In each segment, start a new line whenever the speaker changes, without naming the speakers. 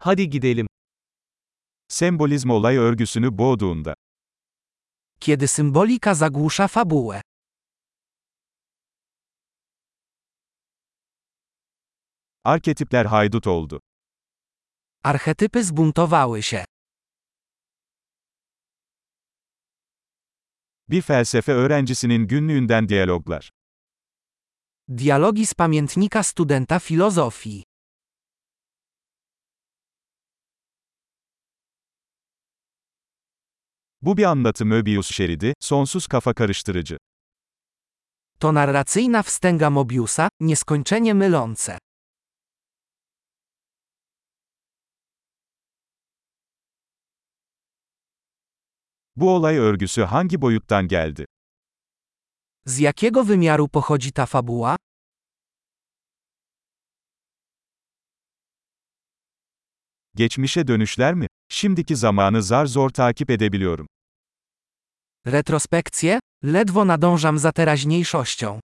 Hadi gidelim.
Sembolizm olay örgüsünü boğduğunda,
Kiedy symbolika zagłusza fabułę.
arketipler haydut oldu.
Archetypy zbuntowały się.
Bir felsefe öğrencisinin günlüğünden diyaloglar.
Dialogi z pamiętnika studenta filozofii.
Bu bir anlatı Möbius şeridi, sonsuz kafa karıştırıcı.
To narracyjna wstęga Mobiusa, nieskończenie mylące.
Bu olay örgüsü hangi boyuttan geldi?
Z jakiego wymiaru pochodzi ta fabuła?
Geçmişe dönüşler mi? Şimdiki zamanı zar zor takip edebiliyorum.
Retrospekcje? Ledwo nadążam za teraźniejszością.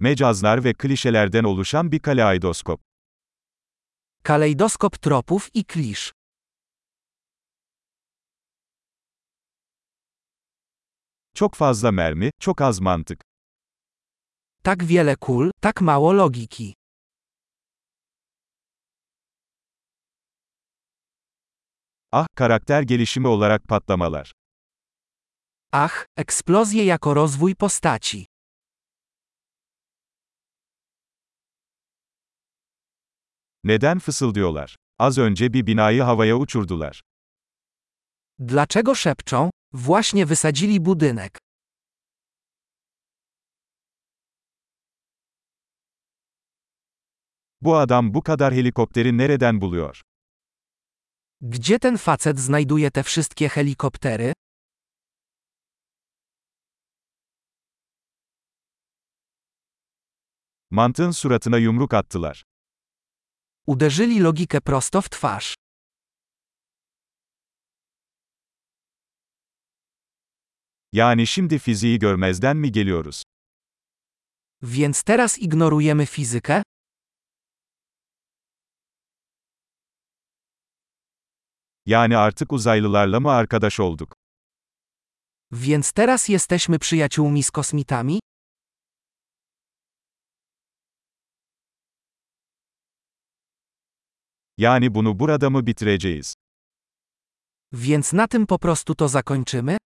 Mecazlar ve klişelerden oluşan bir kaleidoskop.
Kalejdoskop tropów i klisz.
Çok fazla mermi, çok az mantık.
Tak wiele kul, tak mało logiki.
Ah, karakter gelişimi olarak patlamalar.
Ach, eksplozje jako rozwój postaci.
Neden fısıldıyorlar? Az önce bir binayı havaya uçurdular.
Dlaczego szepczą? Właśnie wysadzili budynek.
Bu adam bu kadar helikopteri nereden buluyor?
Gdzie ten facet znajduje te wszystkie helikoptery?
Mantığın suratına yumruk attılar.
Uderzyli logikę prosto w twarz.
Yani şimdi fiziği görmezden mi geliyoruz?
Więc teraz ignorujemy fizykę?
Yani artık uzaylılarla mı arkadaş olduk?
Więc teraz jesteśmy przyjaciółmi z kosmitami?
Yani bunu burada mı bitireceğiz?
Więc na tym po prostu to zakończymy?